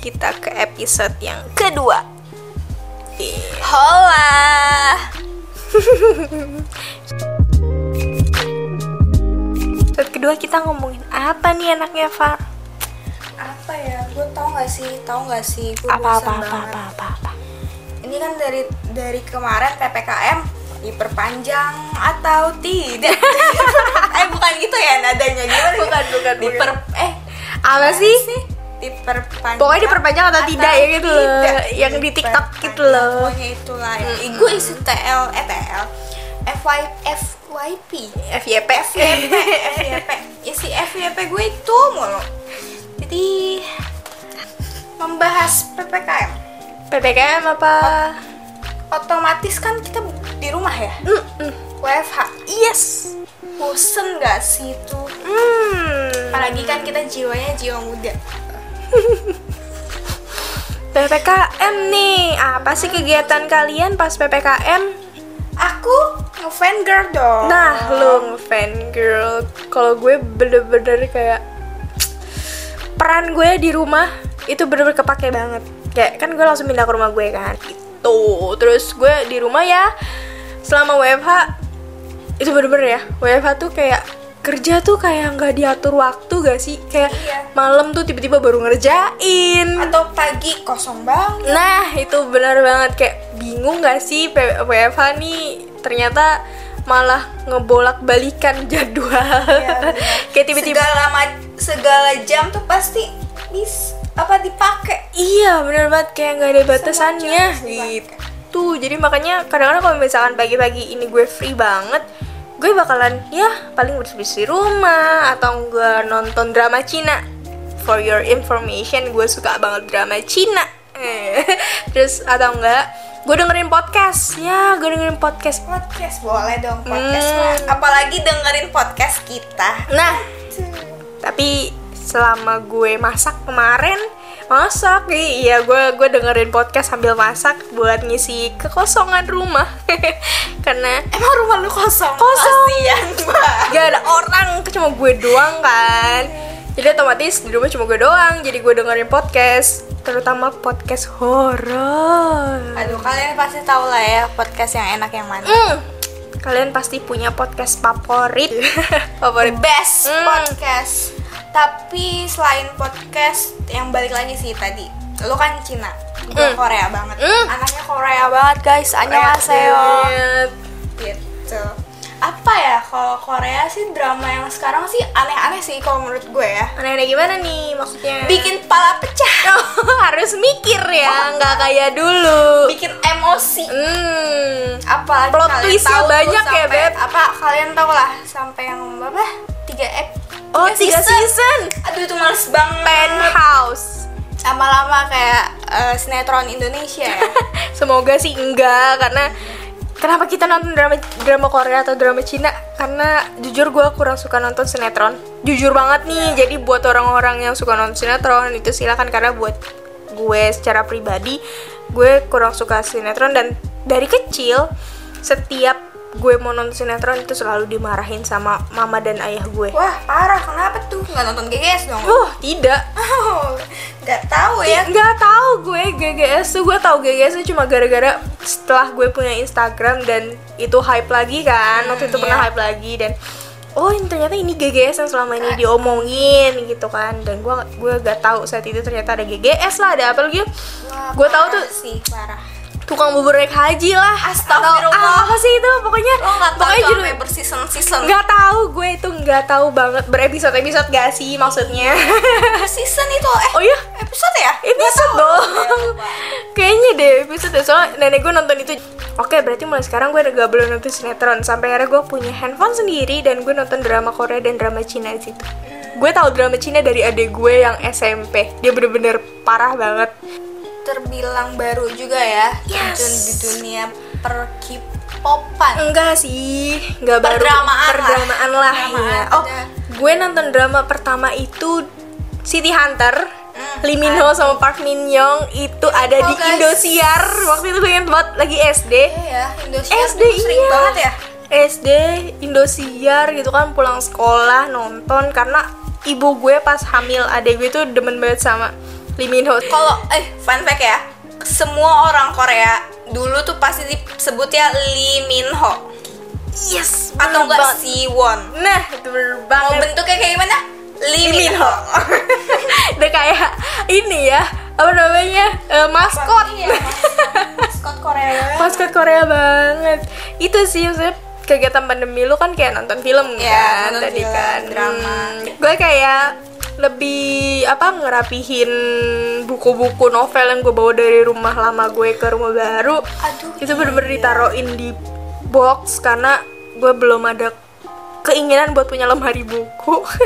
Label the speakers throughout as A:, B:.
A: kita ke episode yang kedua.
B: Hola.
A: Episode kedua kita ngomongin apa nih anaknya Far?
B: Apa ya? Gue tau gak sih? Tau gak sih? Gue
A: Apa
B: bosan
A: apa apa
B: banget.
A: apa apa apa.
B: Ini kan dari dari kemarin ppkm diperpanjang atau tidak? eh bukan gitu ya nadanya gimana?
A: Bukan, bukan, bukan.
B: Diper eh
A: Apa sih?
B: diperpanjang.
A: Pokoknya diperpanjang atau tidak ya gitu loh.
B: tidak.
A: Yang di TikTok
B: Diperpanjang,
A: gitu loh.
B: Pokoknya itulah. Gue isi TL eh TL FY FYP
A: FYP.
B: FYP FYP isi FYP gue itu mulu. Jadi membahas ppkm
A: PPKM apa?
B: otomatis kan kita di rumah ya WFH
A: Yes.
B: bosen gak sih itu
A: Hmm.
B: apalagi kan kita jiwanya jiwa muda
A: PPKM nih. Apa sih kegiatan kalian pas PPKM?
B: aku ngefan girl dong
A: Nah, lu fan girl. Kalau gue bener-bener kayak peran gue di rumah itu bener-bener kepake banget. Kayak kan gue langsung pindah ke rumah gue kan. Itu. Terus gue di rumah ya selama WFH itu bener-bener ya. WFH tuh kayak kerja tuh kayak nggak diatur waktu gak sih? Kayak
B: Iya.
A: malam tuh tiba-tiba baru ngerjain.
B: atau pagi kosong banget
A: Nah, itu benar banget kayak bingung gak sih P- WFH nih ternyata malah ngebolak balikan jadwal.
B: benar.
A: kayak tiba-tiba
B: segala ma- segala jam tuh pasti bis apa dipakai
A: iya benar banget kayak nggak ada batasannya
B: jam pasti
A: gitu. Jadi makanya kadang-kadang kalau misalkan pagi-pagi ini gue free banget, gue bakalan ya paling bersih di rumah atau gue nonton drama Cina. For your information, gue suka banget drama Cina. Eh, Terus atau enggak, gue dengerin podcast. Ya, gue dengerin podcast
B: podcast boleh dong podcast
A: Hmm.
B: lah. apalagi dengerin podcast kita
A: Nah, tapi selama gue masak kemarin, masak i- iya gue gue dengerin podcast sambil masak buat ngisi kekosongan rumah karena
B: emang rumah lu kosong
A: Kosong.
B: kasian banget
A: gak ada orang cuma gue doang kan jadi otomatis di rumah cuma gue doang jadi gue dengerin podcast terutama podcast horor
B: aduh kalian pasti tahu lah ya podcast yang enak yang mana
A: Hmm, kalian pasti punya podcast favorit favorit
B: best
A: Hmm.
B: podcast. Tapi selain podcast yang balik lagi sih tadi, lu kan Cina, gue
A: Hmm.
B: Korea banget.
A: Hmm.
B: Anaknya Korea banget guys, annyeonghaseyo.
A: banget.
B: Gitu. Apa ya kalau Korea sih drama yang sekarang sih aneh-aneh sih kalau menurut gue ya.
A: aneh-aneh gimana nih maksudnya
B: Bikin pala pecah,
A: Oh, harus mikir ya, nggak kayak dulu.
B: bikin emosi.
A: Hmm.
B: Apa
A: Plot twist-nya banyak ya, Beb.
B: Apa kalian tau lah sampai yang berapa? Tiga ep.
A: Oh, tiga season.
B: Aduh itu males banget.
A: Penthouse.
B: lama-lama kayak eh, sinetron Indonesia ya.
A: Semoga sih enggak karena kenapa kita nonton drama drama Korea atau drama Cina? Karena jujur gue kurang suka nonton sinetron. Jujur banget nih. Jadi buat orang-orang yang suka nonton sinetron itu silakan karena buat gue secara pribadi gue kurang suka sinetron dan dari kecil setiap gue mau nonton sinetron itu selalu dimarahin sama mama dan ayah gue.
B: Wah parah kenapa tuh nggak nonton GGS dong?
A: Uh, tidak.
B: Oh, nggak tahu ya.
A: Nggak tahu gue GGS tuh gue tahu GGS tuh cuma gara-gara setelah gue punya Instagram dan itu hype lagi kan. Waktu itu
B: iya.
A: pernah hype lagi dan oh ini ternyata ini GGS yang selama ini diomongin gitu kan dan gue gue gak tahu saat itu ternyata ada GGS lah ada apa lagi
B: Wah,
A: gue tahu
B: parah
A: tuh
B: sih parah.
A: tukang bubur naik haji lah
B: Astagfirullah.
A: Atau apa sih itu pokoknya
B: Lo nggak tahu
A: pokoknya
B: tuh ya?
A: judul-
B: sampai berseason season.
A: nggak tahu gue itu nggak tahu banget berepisode episode gak sih maksudnya
B: Season itu eh
A: oh iya
B: episode ya?
A: episode dong
B: lupa.
A: kayaknya deh episode soalnya nenek gue nonton itu oke berarti mulai sekarang gue gak belum nonton sinetron sampai akhirnya gue punya handphone sendiri dan gue nonton drama Korea dan drama Cina di situ gue tahu drama Cina dari adik gue yang SMP dia bener-bener parah banget
B: Terbilang baru juga ya
A: Yes.
B: terjun di dunia per K-popan.
A: enggak sih enggak baru
B: Perdramaan lah.
A: perdramaan lah,
B: Perdramaan,
A: ya. oh
B: ada.
A: gue nonton drama pertama itu City Hunter
B: Hmm,
A: Lee Min Ho sama Park Min Young itu ada
B: Oh,
A: di
B: guys.
A: Indosiar waktu itu gue ingat banget lagi SD
B: Iya ya, Indonesia
A: SD
B: dulu sering
A: iya.
B: banget ya.
A: SD Indosiar gitu kan pulang sekolah nonton karena ibu gue pas hamil adek gue tuh demen banget sama Lee Min Ho
B: Kalau eh fun fact ya, semua orang Korea dulu tuh pasti disebutnya Lee Min Ho
A: yes bener
B: atau enggak
A: banget.
B: Siwon.
A: nah itu bener
B: Mau
A: banget
B: bentuknya kayak gimana? Lee
A: Lee
B: Min
A: Min
B: Ho.
A: udah kayak ini ya apa namanya eh, maskot
B: Iya, maskot- maskot Korea. Iya,
A: maskot Korea banget itu sih maksudnya kegiatan pandemi lu kan kayak nonton film
B: Iya,
A: kan
B: nonton
A: tadi
B: film,
A: kan
B: drama.
A: Hmm, gue kayak lebih apa ngerapihin buku-buku novel yang gue bawa dari rumah lama gue ke rumah baru
B: Aduh. iya.
A: itu bener-bener ditaruhin di box karena gue belum ada keinginan buat punya lemari buku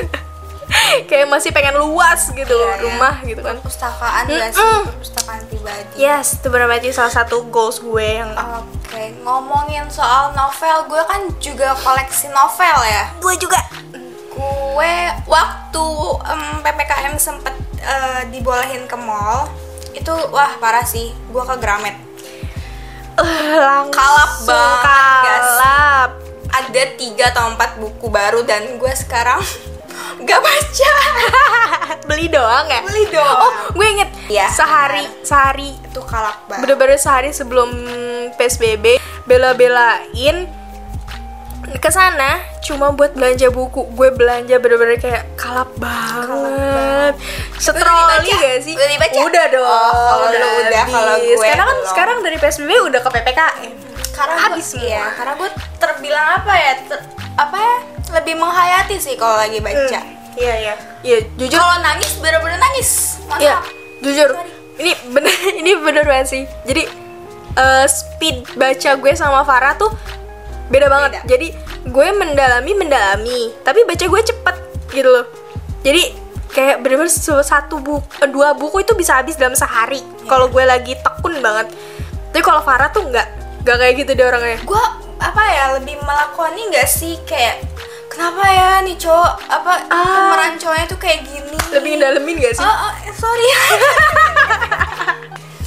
A: kayak masih pengen luas gitu
B: Iya, iya.
A: rumah gitu kan
B: Perpustakaan gak sih?
A: Mm-mm.
B: Perpustakaan pribadi.
A: yes itu bener-bener itu salah satu goals gue yang
B: Oke, ngomongin soal novel, gue kan juga koleksi novel ya.
A: gue juga
B: Gue waktu em, PPKM sempet eh, dibolehin ke mall, itu wah parah sih, gue ke Gramet.
A: langsung
B: Kalap banget, guys.
A: kalap
B: Ada tiga atau empat buku baru dan gue sekarang gak baca.
A: beli doang ya
B: Beli doang.
A: oh gue inget
B: Iya,
A: sehari sehari
B: itu kalap banget.
A: bener-bener sehari sebelum psbb bela-belain ke sana cuma buat belanja buku gue belanja bener-bener kayak kalap banget setroli
B: dibaca?
A: gak sih
B: Udah dibaca?
A: udah dong
B: Oh, kalau lu udah, kalau
A: habis.
B: gue
A: karena kan
B: belum.
A: sekarang dari psbb udah ke ppkm
B: Karena
A: habis
B: gua,
A: semua
B: iya, karena gue terbilang apa ya? ter- apa ya? Lebih menghayati sih kalau lagi baca.
A: iya iya iya jujur
B: Kalau nangis bener-bener nangis. Masa
A: Iya, jujur. Ini bener, ini bener banget sih. Jadi eh, speed baca gue sama Farah tuh beda banget.
B: Beda.
A: Jadi gue mendalami mendalami, tapi baca gue cepet gitu loh. Jadi kayak bener-bener se- satu buku, eh, dua buku itu bisa habis dalam sehari.
B: Iya.
A: Kalau gue lagi tekun banget. Tapi kalau Farah tuh nggak, nggak kayak gitu dia orangnya.
B: gue apa ya lebih melakoni nggak sih kayak kenapa ya nih cowok apa
A: Ah.
B: pemeran cowoknya tuh kayak gini
A: Lebih mendalamin gak sih?
B: oh, oh, eh, sorry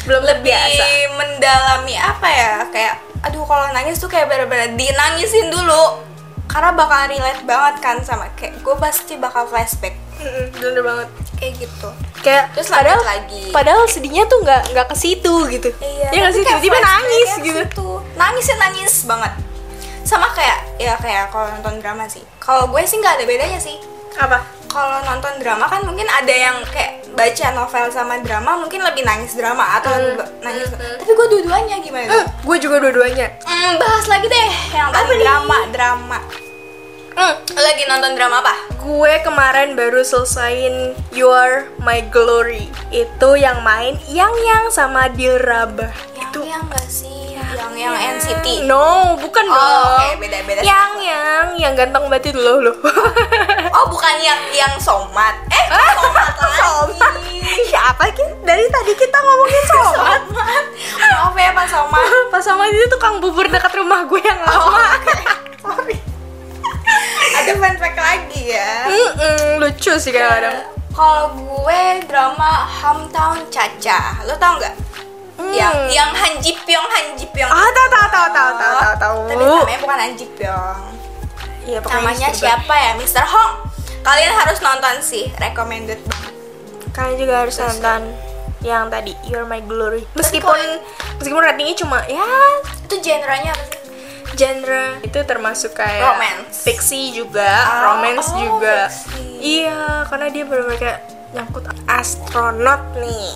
A: Belum
B: lebih
A: terbiasa.
B: mendalami apa ya kayak aduh kalau nangis tuh kayak bener-bener dinangisin dulu karena bakal relate banget kan sama kayak gue pasti bakal flashback
A: Mm-mm, Bener banget.
B: kayak gitu
A: Kayak
B: Terus lanjut
A: padahal
B: lagi.
A: padahal sedihnya tuh nggak nggak ke situ gitu. ya nggak
B: Iya, tapi
A: sih
B: kayak
A: tiba-tiba
B: flashback
A: nangis
B: ya
A: gitu.
B: situ. nangisnya nangis banget sama kayak ya kayak kalau nonton drama sih kalau gue sih nggak ada bedanya sih
A: Apa?
B: kalau nonton drama kan mungkin ada yang kayak baca novel sama drama mungkin lebih nangis drama atau lebih ba- nangis tapi gue dua-duanya gimana tuh?
A: gue Eh, juga dua-duanya.
B: Hmm, bahas lagi deh yang
A: Apa
B: tadi
A: nih?
B: drama drama Lo lagi nonton drama apa
A: Gue kemarin baru selesain You Are My Glory. Itu yang main Yang Yang sama Diraba.
B: yang yang nggak sih yang yang NCT
A: No, bukan
B: Oh,
A: dong.
B: oke, beda-beda.
A: Yang Yang yang ganteng banget itu loh loh.
B: oh bukan yang yang somat eh somat
A: Somat.
B: lagi
A: Siapa kita? Ya Dari tadi kita ngomongin soal
B: somat maaf ya pak somat
A: Pas sama itu tukang bubur dekat rumah gue yang
B: Oh,
A: lama.
B: sorry ada fun fact lagi ya
A: Mm-mm, lucu sih kadang-kadang.
B: Kalau gue drama Hometown Caca, lo tau nggak?
A: Hmm.
B: Yang yang Han Ji Pyong, Han Ji Pyong.
A: Ah, tahu tahu tahu tahu tahu tahu tahu.
B: Tapi namanya bukan Han Ji Pyong.
A: Iya, pokoknya
B: Namanya
A: gitu.
B: siapa ya? Mr. Hong. Kalian harus nonton sih, recommended. banget.
A: Kalian juga harus nonton yang tadi You're My Glory.
B: kalau-
A: Meskipun meskipun ratingnya cuma ya
B: Itu genre-nya apa sih?
A: genre itu termasuk kayak
B: Romance.
A: fiksi juga,
B: Ah,
A: romance
B: oh,
A: juga.
B: fiksi.
A: Iya, karena dia benar kayak nyangkut astronot nih.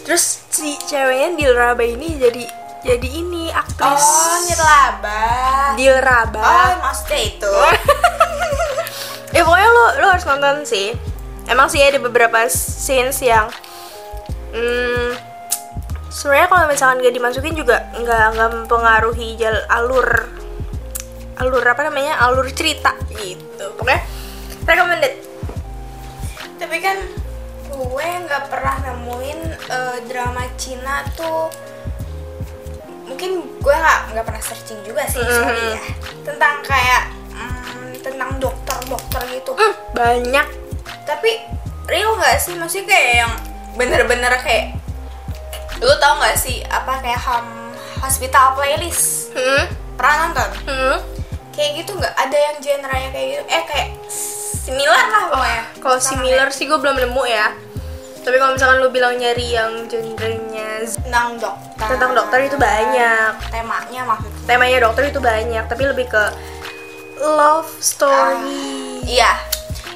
A: Terus si ceweknya Dilraba ini jadi jadi ini aktris.
B: Oh, nirlaba. Oh,
A: Dilraba.
B: maksudnya itu.
A: Oh. ya pokoknya lo lo harus nonton sih emang sih ya, ada beberapa scenes yang hmm, sebenarnya kalau misalkan gak dimasukin juga nggak nggak mempengaruhi jal alur alur apa namanya alur cerita gitu pokoknya recommended
B: Tapi kan gue nggak pernah nemuin eh, drama Cina tuh mungkin gue nggak nggak pernah searching juga sih
A: Mm-hmm.
B: sorry ya tentang kayak mm, tentang dokter dokter gitu
A: Hmm, banyak
B: tapi real nggak sih maksudnya kayak yang bener-bener kayak lu tau nggak sih apa kayak ham hospital playlist
A: hmm,
B: pernah nonton
A: hmm.
B: kayak gitu nggak ada yang genre-nya kayak gitu eh kayak similar lah pokoknya
A: Oh, kalau
B: Sama
A: similar sih gue belum nemu ya Tapi kalau misalkan lu bilang nyari yang genrenya z-
B: tentang dokter
A: Tentang dokter itu banyak.
B: temanya maksudnya
A: temanya dokter itu banyak, tapi lebih ke love story.
B: iya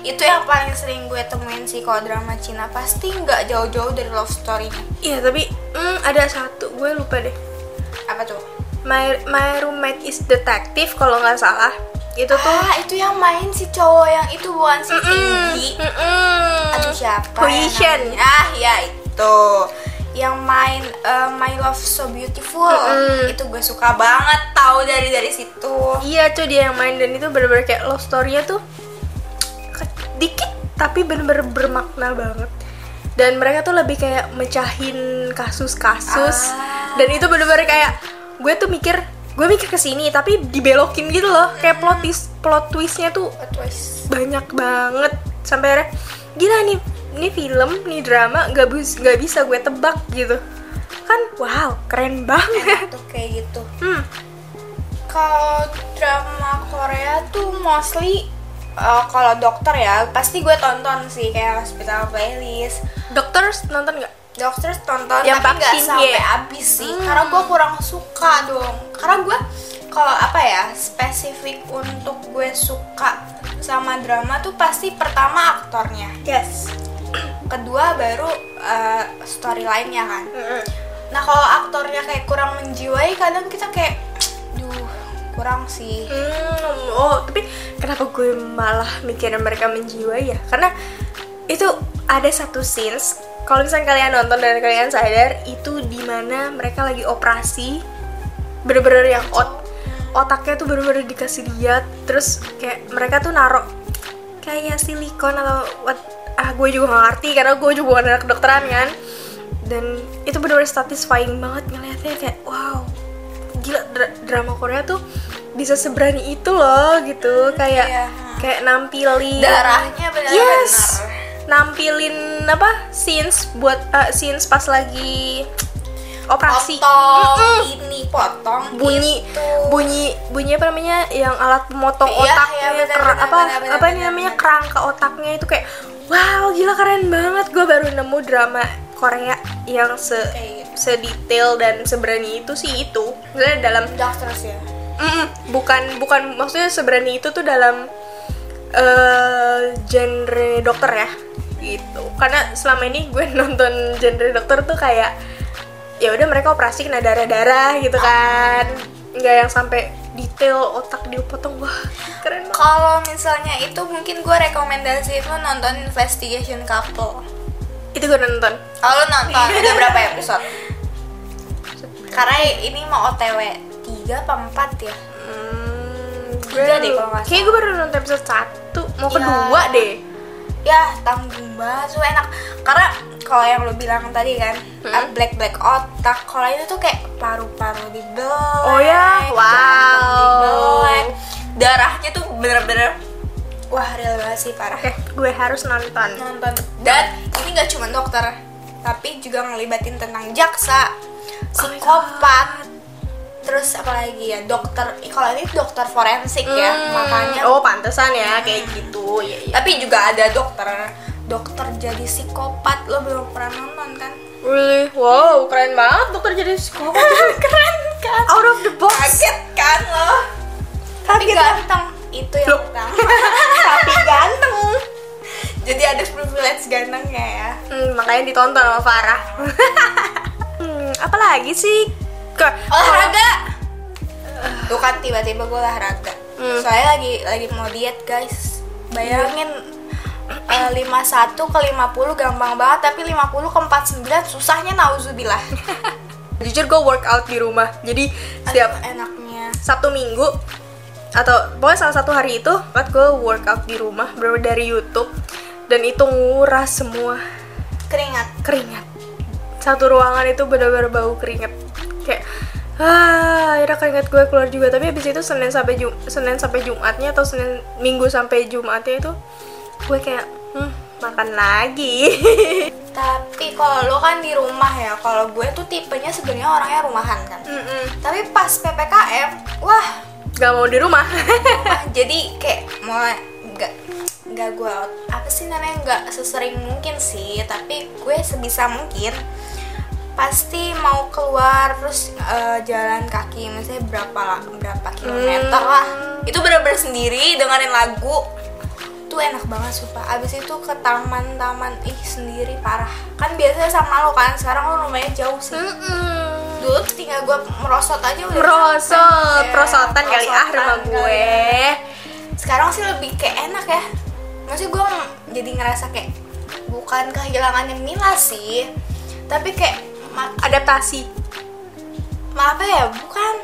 B: itu yang paling sering gue temuin sih kalau drama Cina pasti nggak jauh-jauh dari love story
A: Iya, tapi mm, ada satu gue lupa deh.
B: apa tuh
A: My My Roommate is Detective kalau nggak salah. Itu tuh
B: ah itu yang main si cowok yang itu bukan si tinggi
A: Mm-mm, mm-mm.
B: Ah, aduh siapa ya
A: Cohesion.
B: namanya? ah ya itu yang main eh, My Love So Beautiful
A: Mm-mm.
B: itu gue suka banget tahu dari dari situ
A: Iya cuy dia yang main dan itu bener-bener kayak love story-nya tuh ke- dikit tapi bener-bener bermakna banget dan mereka tuh lebih kayak mecahin kasus-kasus
B: Ah.
A: dan itu bener-bener kayak gue tuh mikir gue mikir ke sini tapi dibelokin gitu loh kayak plot twist plot twistnya tuh
B: Plot twist.
A: banyak banget sampai akhirnya gila nih ini film nih drama gak, bus- gak bisa gue tebak gitu kan wow keren banget
B: tuh kayak gitu
A: hmm.
B: kalau drama Korea tuh mostly eh, kalau dokter ya pasti gue tonton sih kayak hospital playlist
A: dokter nonton nggak
B: dokter tonton
A: Yang
B: tapi nggak
A: vaksin,
B: sampai
A: iya.
B: habis sih karena gue kurang suka dong karena gue kalau apa ya spesifik untuk gue suka sama drama tuh pasti pertama aktornya
A: yes
B: kedua baru eh, storyline-nya kan nah kalau aktornya kayak kurang menjiwai kadang kita kayak duh kurang sih
A: Hmm, oh, tapi kenapa gue malah mikirin mereka menjiwai ya? Karena itu ada satu scenes kalau misalnya kalian nonton dan kalian sadar itu dimana mereka lagi operasi bener-bener yang ot otaknya tuh bener-bener dikasih lihat terus kayak mereka tuh narok kayak silikon atau what ah gue juga gak ngerti karena gue juga bukan anak kedokteran kan dan itu bener-bener satisfying banget ngeliatnya kayak wow gila dra- drama Korea tuh bisa seberani itu loh gitu kayak
B: iya.
A: kayak nampilin
B: Darahnya benar-benar.
A: yes nampilin apa scenes buat eh, scenes pas lagi operasi
B: potong
A: Mm-mm.
B: ini potong
A: bunyi
B: itu.
A: bunyi bunyi apa namanya yang alat pemotong
B: Gitu. Iya,
A: otaknya
B: iya, benar,
A: kera-
B: benar,
A: apa
B: benar, benar,
A: apa ini
B: benar,
A: namanya
B: benar.
A: kerangka otaknya itu kayak wow gila keren banget gue baru nemu drama Korea yang se
B: Kayak gitu.
A: sedetail dan seberani itu sih itu Maksudnya dalam
B: dokter sih ya.
A: Mm, bukan bukan maksudnya seberani itu tuh dalam eh, genre dokter ya gitu karena selama ini gue nonton genre dokter tuh kayak ya udah mereka operasi kena darah darah gitu kan nggak yang sampai detail otak dipotong wah keren banget
B: kalau misalnya itu mungkin gue rekomendasi itu nonton investigation couple
A: itu gue nonton
B: kalau lo nonton udah berapa episode karena ini mau otw 3 apa 4 ya
A: Hmm,
B: Tiga deh kalau nggak salah.
A: kayak gue baru nonton episode satu mau
B: Iya.
A: kedua deh
B: ya tanggung banget so enak karena kalau yang lo bilang tadi kan
A: Hmm?
B: black black otak kalau itu tuh kayak paru-paru dibelek
A: Oh ya?
B: jantung
A: Wow.
B: dibelek. darahnya tuh bener-bener wah real banget sih parah
A: oke gue harus nonton
B: nonton dan ini nggak cuma dokter tapi juga ngelibatin tentang jaksa psikopat terus apalagi ya dokter eh, kalau ini dokter forensik ya
A: Hmm,
B: makanya
A: oh pantesan ya kayak gitu ya, ya.
B: tapi juga ada dokter dokter jadi psikopat lo belum pernah nonton kan
A: Really? Wow, keren banget dokter jadi psikolog.
B: keren kan
A: Out of the box.
B: kaget kan lo tapi
A: Kaget.
B: ganteng itu yang
A: Loh.
B: utama tapi ganteng jadi ada privilege gantengnya ya
A: Hmm, makanya ditonton sama Farah. hmm, apalagi sih? Ke
B: olahraga tuh kan tiba-tiba gue olahraga
A: Hmm.
B: soalnya lagi lagi mau diet guys bayangin eh, 51 ke 50 gampang banget tapi 50 ke 49 susahnya nauzubillah
A: Jujur gue workout di rumah. Jadi setiap
B: Aduh, enaknya
A: Sabtu Minggu atau pokoknya salah satu hari itu buat gue workout di rumah bener dari YouTube dan itu nguras semua
B: keringat
A: keringat satu ruangan itu benar-benar bau keringat kayak ah akhirnya keringat gue keluar juga tapi habis itu senin sampai Jum- senin sampai jumatnya atau senin minggu sampai jumatnya itu gue kayak hmm, makan lagi
B: tapi kalau lo kan di rumah ya kalau gue tuh tipenya sebenarnya orangnya rumahan kan
A: Mm-mm.
B: tapi pas ppkm wah
A: gak mau di rumah
B: jadi kayak mau nggak nggak gue apa sih namanya nggak sesering mungkin sih tapi gue sebisa mungkin pasti mau keluar terus eh, jalan kaki misalnya berapa la- berapa kilometer lah
A: Hmm.
B: itu benar-benar sendiri dengerin lagu itu enak banget sumpah abis itu ke taman-taman ih sendiri parah kan biasanya sama lo kan sekarang lo rumahnya jauh sih
A: Hmm. Mm-mm.
B: dulu tuh tinggal gue merosot aja udah
A: merosot
B: capek.
A: perosotan kali ah
B: Perosotan
A: rumah
B: Iya, kali. ya.
A: gue
B: sekarang sih lebih kayak enak ya maksudnya gue jadi ngerasa kayak bukan kehilangannya Mila sih tapi kayak ma-
A: adaptasi
B: ma- apa ya bukan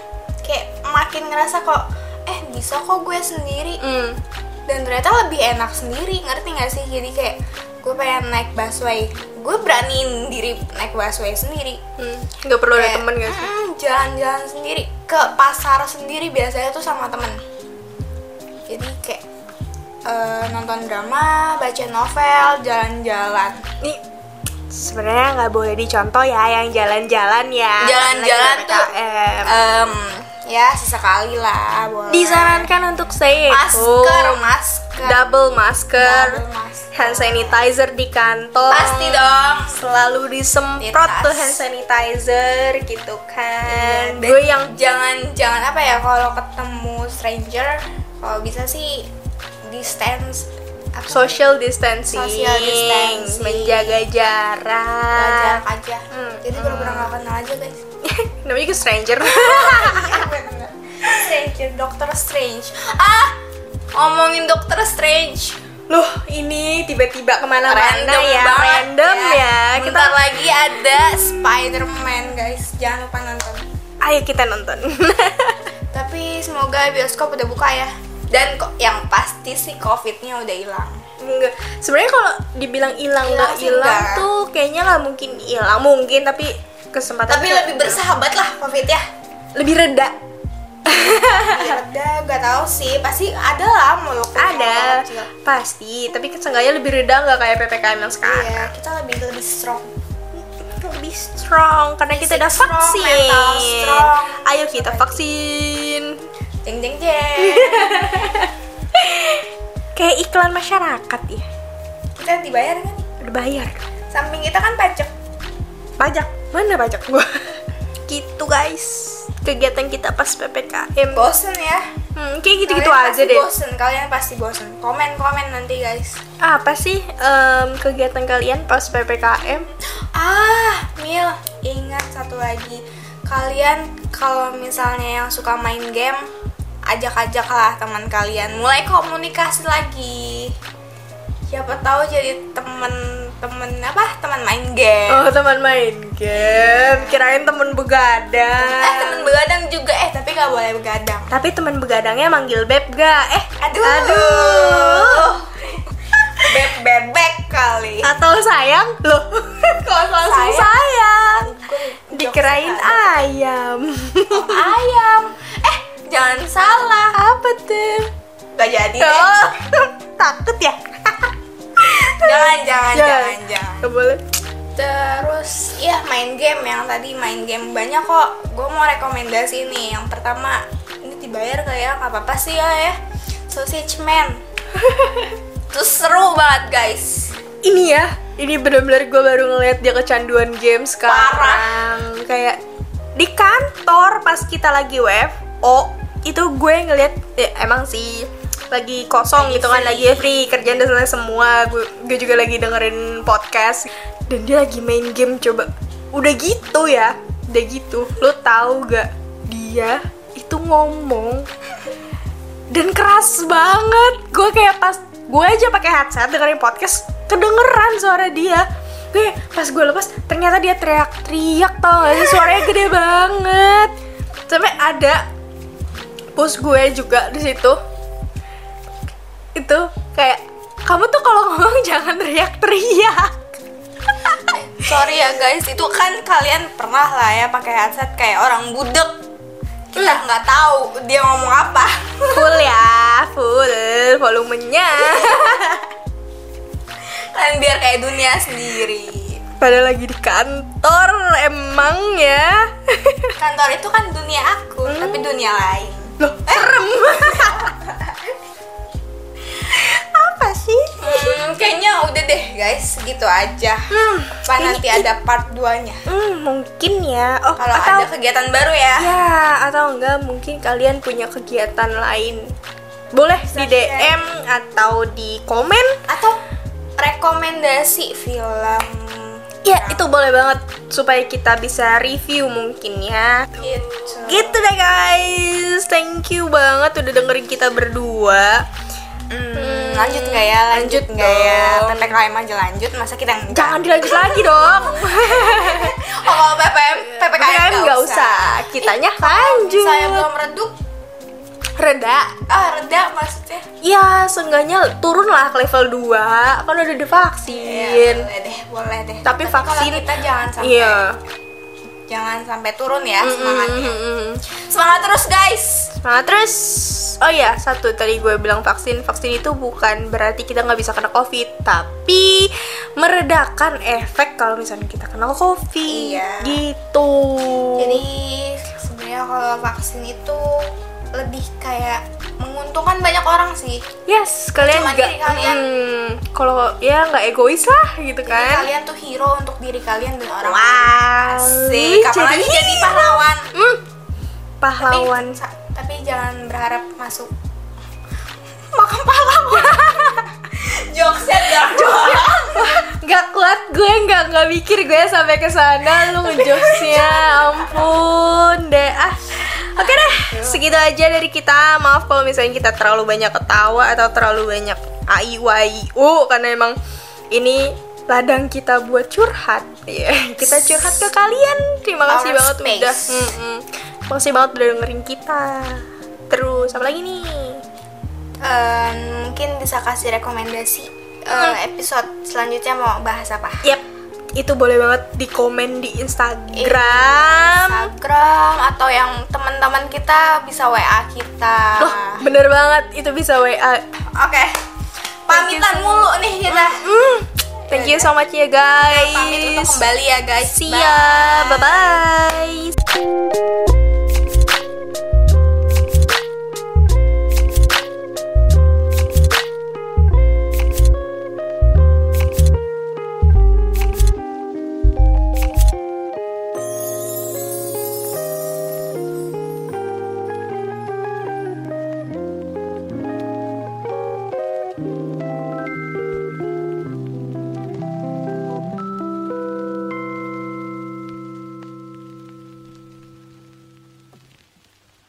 B: kayak makin ngerasa kok eh bisa kok gue sendiri
A: Mm.
B: dan ternyata lebih enak sendiri ngerti gak sih jadi kayak gue pengen naik busway gue beraniin diri naik busway sendiri
A: Mm. nggak perlu ada
B: Kayak,
A: temen gak sih
B: "Mm, jalan-jalan sendiri ke pasar sendiri biasanya tuh sama temen jadi kayak eh, nonton drama baca novel jalan-jalan
A: nih sebenarnya nggak boleh dicontoh ya yang jalan-jalan ya
B: Jalan-jalan
A: Karena kita
B: tuh-
A: PKM.
B: Em, ya sesekali lah boleh
A: disarankan untuk stay at
B: masker
A: home.
B: masker
A: double masker,
B: Double masker.
A: hand sanitizer di kantong
B: pasti dong
A: selalu
B: Di
A: disemprot
B: tas.
A: tuh hand sanitizer gitu kan
B: Dan
A: gue yang
B: jangan jangan apa ya kalau ketemu stranger kalau bisa sih distance apa?
A: social distancing,
B: Social distancing.
A: menjaga jarak ya.
B: jarak aja
A: Hmm.
B: jadi bener-bener gak kenal aja guys
A: namanya juga stranger
B: Stranger, Dokter Strange. Ah, ngomongin Dokter Strange.
A: loh ini tiba-tiba kemana-mana
B: Random
A: ya
B: banget
A: random ya, kita
B: Bentar lagi ada Spider-Man, guys. Jangan lupa nonton.
A: ayo kita nonton
B: Tapi semoga bioskop udah buka ya. Dan kok yang pasti sih COVID-nya udah hilang.
A: Enggak. Sebenarnya kalau dibilang hilang
B: Hilang
A: nggak
B: sih
A: hilang
B: enggak.
A: tuh kayaknya nggak mungkin hilang mungkin tapi kesempatan
B: Tapi lebih bersahabat lah COVID ya.
A: lebih reda
B: ada, gak tahu sih. Pasti ada lah mulut
A: ada
B: Iya,
A: pasti tapi kan seenggaknya lebih reda nggak kayak ppkm yang sekarang
B: Iya, kita lebih lebih strong.
A: lebih strong karena kita
B: Fisik
A: udah
B: strong,
A: vaksin
B: mental strong.
A: ayo kita vaksin
B: Jeng jeng jeng.
A: kayak iklan masyarakat ya
B: kita dibayar kan?
A: udah bayar
B: Samping kita kan pajak.
A: pajak mana pajak gua gitu guys kegiatan kita pas ppkm
B: Bosen ya.
A: hmm, kayak gitu gitu
B: Kalian
A: aja
B: pasti
A: deh
B: bosen kalian pasti bosen komen komen nanti guys
A: apa sih em, kegiatan kalian pas PPKM?
B: ah mil ingat satu lagi kalian kalau misalnya yang suka main game ajak-ajak lah teman kalian mulai komunikasi lagi siapa tahu jadi temen temen apa teman main game
A: Oh, teman main game. Kirain teman
B: eh
A: begadang.
B: temen begadang juga eh tapi nggak boleh begadang
A: Tapi teman begadangnya manggil beb gak? Eh,
B: aduh
A: Aduh.
B: beb bebek kali
A: atau sayang? Loh, kok langsung sayang?
B: Sayang? Gue
A: Dikirain ayam. Oh,
B: ayam eh jangan salah
A: Apa tuh?
B: gak jadi deh
A: Oh, takut ya?
B: jangan jangan jangan jangan
A: Gak boleh.
B: terus ya main game yang tadi main game banyak kok gue mau rekomendasi nih yang pertama ini dibayar gak ya nggak apa apa sih ya ya sausage man terus seru banget guys
A: Ini ya, ini benar-benar gue baru ngeliat dia kecanduan game sekarang. Kayak di kantor pas kita lagi WFO itu gue ngeliat ya, emang sih lagi kosong gitu kan lagi free kerjaan udah selesai semua gue, gue juga lagi dengerin podcast dan dia lagi main game coba udah gitu ya udah gitu lo tahu gak dia itu ngomong dan keras banget gue kayak pas gue aja pakai headset dengerin podcast kedengeran suara dia gue pas gue lepas ternyata dia teriak-teriak tau gak sih suaranya gede banget sampai ada pus gue juga di situ itu kayak kamu tuh kalau ngomong jangan teriak-teriak
B: sorry ya guys itu kan kalian pernah lah ya pakai headset kayak orang budek kita nggak tahu dia ngomong apa
A: full ya full volumenya
B: kan biar kayak dunia sendiri
A: pada lagi di kantor emang ya
B: kantor itu kan dunia aku
A: Eh.
B: tapi dunia lain
A: loh serem
B: Hmm, kayaknya udah deh guys segitu aja
A: Hmm,
B: apa nanti ada part 2 nya
A: hmm, mungkin ya. Oh,
B: kalau
A: atau
B: ada kegiatan baru ya
A: ya atau enggak mungkin kalian punya kegiatan lain. Boleh di
B: share.
A: DM atau di komen.
B: atau rekomendasi film
A: Ya,
B: Iya.
A: itu boleh banget supaya kita bisa review mungkin ya.
B: gitu
A: Gitu deh guys. Thank you banget udah dengerin kita berdua.
B: Hmm, lanjut nggak ya lanjut
A: Lanjut
B: nggak ya
A: dong.
B: ppkm aja lanjut masa kita nggak?
A: Jangan dilanjut lagi dong.
B: oh kalau ppkm ppkm
A: PPKM nggak usah. Kitanya lanjut.
B: saya belum redup
A: Reda.
B: ah reda maksudnya
A: Ya, seenggaknya turunlah ke level 2. Kan udah divaksin.
B: Ya, boleh deh boleh deh
A: Tapi
B: kalau
A: vaksin-
B: kita jangan sampai
A: Iya.
B: jangan sampai turun ya semangatnya
A: Mm-mm.
B: semangat terus guys
A: Nah, Mm-hmm. terus oh ya, satu tadi gue bilang vaksin. Vaksin itu bukan berarti kita nggak bisa kena Covid, tapi meredakan efek kalau misalnya kita kena Covid.
B: Iya.
A: Gitu.
B: jadi sebenarnya kalau vaksin itu lebih kayak menguntungkan banyak orang sih
A: yes, kalian
B: Cuma
A: juga
B: diri kalian.
A: mm, kalau ya nggak egois lah gitu
B: Jadi
A: kan.
B: kalian tuh hero untuk diri kalian dan orang
A: Wah,
B: asik apalagi
A: jadi-
B: jadi pahlawan
A: Hmm,
B: Tapi-
A: pahlawan.
B: sa- tapi, jangan berharap masuk makam pahlawan ya, jokesnya dark jokesnya
A: nggak kuat gue nggak nggak mikir gue sampai ke sana lu ngejokesnya
B: Iya.
A: ampun deh ah oke deh segitu aja dari kita maaf kalau misalnya kita terlalu banyak ketawa atau terlalu banyak aiu aiu karena emang ini ladang kita buat curhat ya kita curhat ke kalian terima kasih
B: Our
A: banget
B: space.
A: udah mm-mm. makasih banget udah dengerin kita terus apa lagi nih
B: Eh, mungkin bisa kasih rekomendasi
A: Hmm.
B: eh, episode selanjutnya mau bahas apa
A: yep itu boleh banget di komen di Instagram
B: Instagram atau yang teman-teman kita bisa WA kita
A: Loh,
B: Ah.
A: bener banget itu bisa WA.
B: oke pamitan
A: so-
B: mulu nih kita
A: Hmm, Thank you so much ya guys.
B: pamit untuk kembali ya guys
A: See ya. Bye bye.